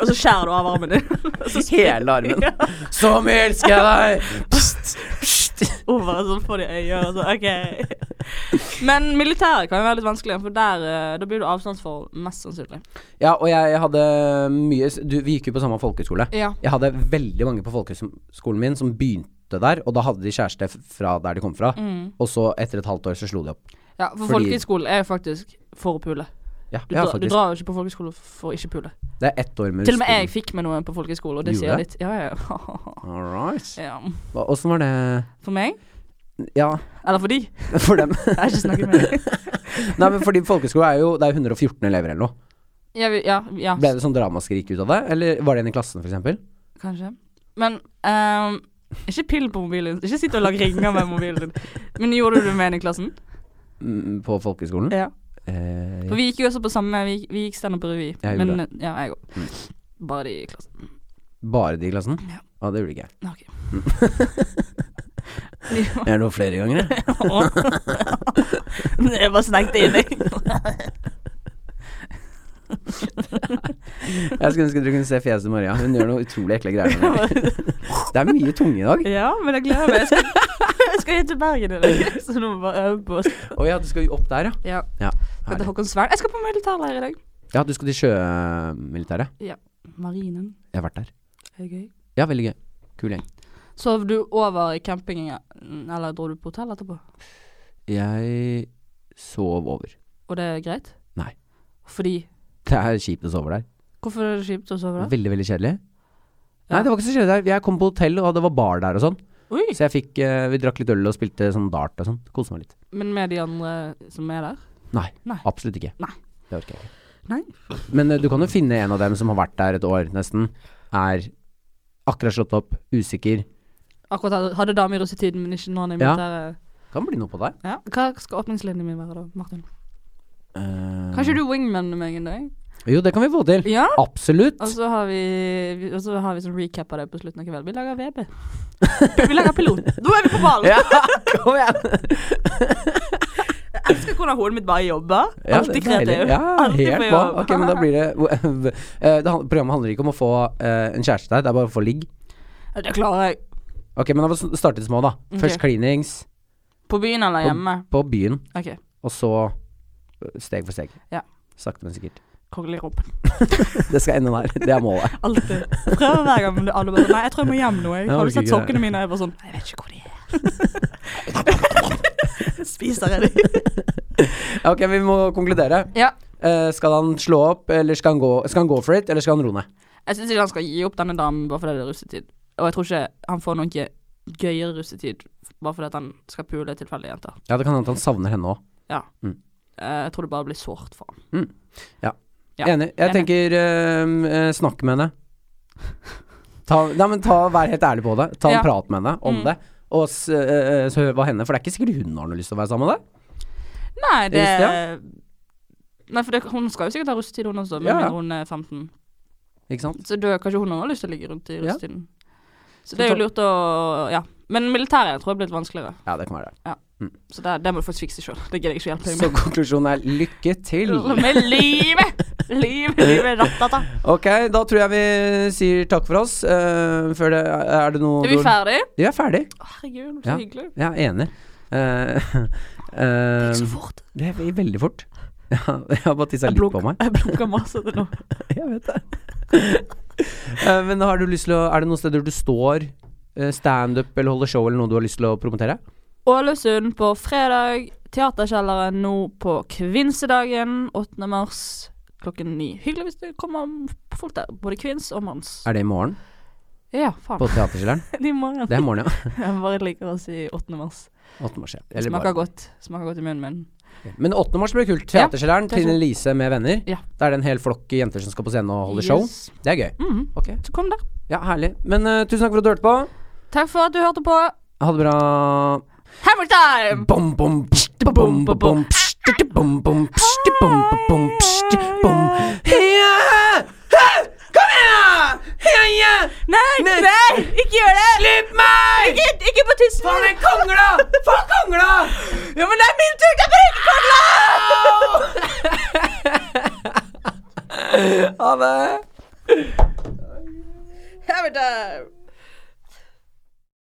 S2: Og så skjærer du av armen din. Og så
S1: hele armen
S2: Ja.
S1: Så mye elsker jeg deg! Pst, pst.
S2: over og sånn får de øye og så, OK. Men militæret kan jo være litt vanskelig, for der, eh, da blir du avstandsforhold, mest sannsynlig.
S1: Ja, og jeg hadde mye s- du, Vi gikk jo på samme folkehøyskole.
S2: Ja.
S1: Jeg hadde veldig mange på folkehøyskolen min som begynte der, og da hadde de kjæreste f- fra der de kom fra.
S2: Mm.
S1: Og så, etter et halvt år, så slo de opp.
S2: ja for
S1: Fordi-
S2: folkehøyskolen er jo faktisk for å pule.
S1: Ja,
S2: Du,
S1: ja
S2: dra, du
S1: faktisk.
S2: drar jo ikke på folkehøyskole for å ikke pule.
S1: Det er ett år med
S2: Til og med
S1: russetid.
S2: jeg fikk med noen på folkehøyskole, og det
S1: Gjorde
S2: sier
S1: det?
S2: litt. Ja, ja, ja.
S1: All right.
S2: ja.
S1: Hva- Åssen var det
S2: For meg?
S1: Ja,
S2: Eller for de?
S1: for dem.
S2: Jeg har ikke snakket med dem.
S1: Nei, men fordi folkeskole er jo Det er 114 elever eller noe.
S2: Ja, vi- ja, ja.
S1: Ble det sånn dramaskrik ut av det? Eller var det en i klassen, f.eks.?
S2: Kanskje. Men ehm, ikke pill på mobilen. Ikke sitt og lag ringer med mobilen din. Men gjorde du det med en i klassen?
S1: På folkeskolen?
S2: Ja.
S1: Eh,
S2: For vi gikk jo også på samme Vi, gikk- vi gikk standup revy.
S1: Jeg gjorde
S2: Men ja, jeg òg. Bare de i klassen.
S1: bare de i klassen?
S2: Ja.
S1: Ja, det gjorde ikke jeg.
S2: OK. De var-
S1: Jeg lå flere ganger, jeg.
S2: jeg bare snekte inn, jeg.
S1: Jeg skulle ønske dere kunne se fjeset til Maria. Hun gjør noe utrolig ekle greier. med det. Det er mye tunge i dag.
S2: ja, men jeg gleder meg. Jeg skal, jeg skal hjem til Bergen i dag, så nå må vi bare øve på oss.
S1: Å ja, du skal jo opp der, ja.
S2: Ja.
S1: Ja,
S2: Skal til
S1: herlig.
S2: Håkonsvern. Jeg skal på militærleir i dag.
S1: ja du skal til sjømilitæret.
S2: Marinen.
S1: Jeg har vært der.
S2: Er det gøy?
S1: Ja, veldig gøy. Kul gjeng.
S2: Sov du over i campingen, eller dro du på hotell etterpå?
S1: Jeg sov over.
S2: Og det er greit?
S1: Nei.
S2: Fordi
S1: Det er kjipt å sove der.
S2: Hvorfor er det kjipt å sove der?
S1: Veldig, veldig kjedelig.
S2: Ja.
S1: Nei, det var ikke så kjedelig der. Jeg kom på hotell, og det var bar der og sånn.
S2: Oi!
S1: Så jeg fikk eh, Vi drakk litt øl og spilte sånn dart og sånn. Koste meg litt.
S2: Men med de andre som er der?
S1: Nei,
S2: Nei.
S1: absolutt ikke.
S2: Nei.
S1: Det orker jeg ikke.
S2: Nei.
S1: Men eh, du kan jo finne en av dem som har vært der et år, nesten. Er akkurat slått opp, usikker.
S2: Akkurat hadde- hadde dame i russetiden, men ikke når han er i
S1: Ja.
S2: militæret.
S1: Kan bli noe på deg.
S2: Ja. Hva skal åpningslinjen min være da, Martin?
S1: Eh,
S2: Kanskje du wingman meg en dag?
S1: Jo, det kan vi få til.
S2: Ja?
S1: Absolutt.
S2: Og så har vi, vi- og så har vi sånn recap av det på slutten av kvelden. Vi lager VB. Vi lager pilot. Nå er vi på ballen!
S1: ja, kom igjen.
S2: Jeg elsker hvordan hodet mitt bare jobber.
S1: Ja,
S2: Alltid
S1: det er deilig.
S2: kreativ.
S1: Ja,
S2: Alltid på
S1: helt på.
S2: jobb.
S1: Ok, men da blir det, Eh, det han- Programmet handler ikke om å få eh, en kjæreste der, det er bare å få ligg.
S2: Ja, Det klarer jeg.
S1: Ok, men da må vi starte små, da. Først
S2: Ok.
S1: klinings
S2: På byen eller
S1: På-
S2: hjemme?
S1: på byen,
S2: OK.
S1: og så eh, steg for steg.
S2: Ja.
S1: Sakte, men sikkert.
S2: Kongelig rumpen.
S1: Det skal ende der. Det er målet.
S2: Alltid. Prøver hver gang, men alle bare Nei, jeg tror jeg må hjem nå. Jeg.
S1: Jeg
S2: Har du
S1: orker
S2: sett
S1: ikke det.
S2: sokkene mine? Jeg bare sånn Jeg vet ikke hvor de er. Spiser jeg de?
S1: Ok, vi må konkludere.
S2: Ja.
S1: Eh, skal han slå opp, eller skal han, gå, skal han gå for it, eller skal han roe ned?
S2: Jeg syns ikke han skal gi opp denne damen bare fordi det er russetid. Og jeg tror ikke han får noen gøyere russetid bare fordi at han skal pule tilfeldige jenter.
S1: Ja, det kan hende at han savner henne òg.
S2: Eh, Jeg tror det bare blir sårt for ham. Ja,
S1: Enig. Jeg
S2: enig.
S1: tenker eh, eh, snakk med henne. Ta, nei, men ta, vær helt ærlig på det. Ta en
S2: Ja.
S1: prat med henne om
S2: Mm.
S1: det. Og s- eh, eh, så hør hva henne For det er ikke sikkert hun har noe lyst til å være sammen med deg.
S2: Nei, det
S1: Visst,
S2: Nei, for det, hun skal jo sikkert ha russetid, hun også, med
S1: Ja, ja.
S2: mindre hun er 15.
S1: Ikke sant?
S2: Så da kanskje hun også har lyst til å ligge rundt i
S1: Ja.
S2: russetiden. Så det er jo lurt å Ja. Men militæret tror jeg blir litt vanskeligere.
S1: Ja, det kan være det.
S2: Så det, det må du faktisk fikse sjøl. Det gidder jeg ikke å hjelpe deg
S1: Så
S2: med.
S1: konklusjonen er lykke til.
S2: Med livet! Livet, livet, rattata.
S1: Ok, da tror jeg vi sier takk for oss. Eh, før det Er det noe
S2: Er vi ferdig?
S1: Vi er ferdig.
S2: Å, Herregud, så
S1: Ja.
S2: hyggelig.
S1: Ja, enig. Eh, eh,
S2: Så fort.
S1: det er veldig fort. Ja, jeg har bare tissa
S2: Jeg
S1: litt på
S2: blunker,
S1: meg.
S2: jeg blunker masse til nå.
S1: Jeg vet det. Eh, men har du lyst til å Er det noen steder du står? eh, Standup eller holder show eller noe du har lyst til å promotere?
S2: Ålesund på fredag. Teaterkjelleren nå på kvinsedagen 8. mars klokken ni. Hyggelig hvis det kommer folk der. Både kvinns og manns.
S1: Er det i morgen?
S2: Ja,
S1: På
S2: faen.
S1: Teaterkjelleren?
S2: De må jeg.
S1: Det er i morgen, ja.
S2: Jeg bare liker å si 8. mars.
S1: 8. mars, ja. Eller
S2: Smaker
S1: bare-
S2: godt. Smaker godt i munnen min.
S1: Men 8. mars blir kult.
S2: Ja,
S1: Teaterkjelleren.
S2: det er
S1: Trine Lise med venner.
S2: Ja.
S1: Da er det en hel flokk jenter som skal på scenen og holde show.
S2: Yes.
S1: Det er gøy.
S2: Mhm.
S1: Ok.
S2: Så kom der.
S1: Ja, herlig. Men eh, tusen takk for at du hørte på.
S2: Takk for at du hørte på.
S1: Ha det bra.
S2: Hammer time!
S1: Bom, bom, pst, bom, bom, bom, pst, bom, bom, pst, bom, bom, bom, pst, bom. Heia! Hæ? Kom igjen! Heia!
S2: Nei,
S1: Nei.
S2: nei, ikke gjør det!
S1: Slipp meg!
S2: Ikke, ikke på tissen
S1: Faen, den kongla! Faen, kongla!
S2: Ja, men det er min tur til å bruke kongla!
S1: Ha det!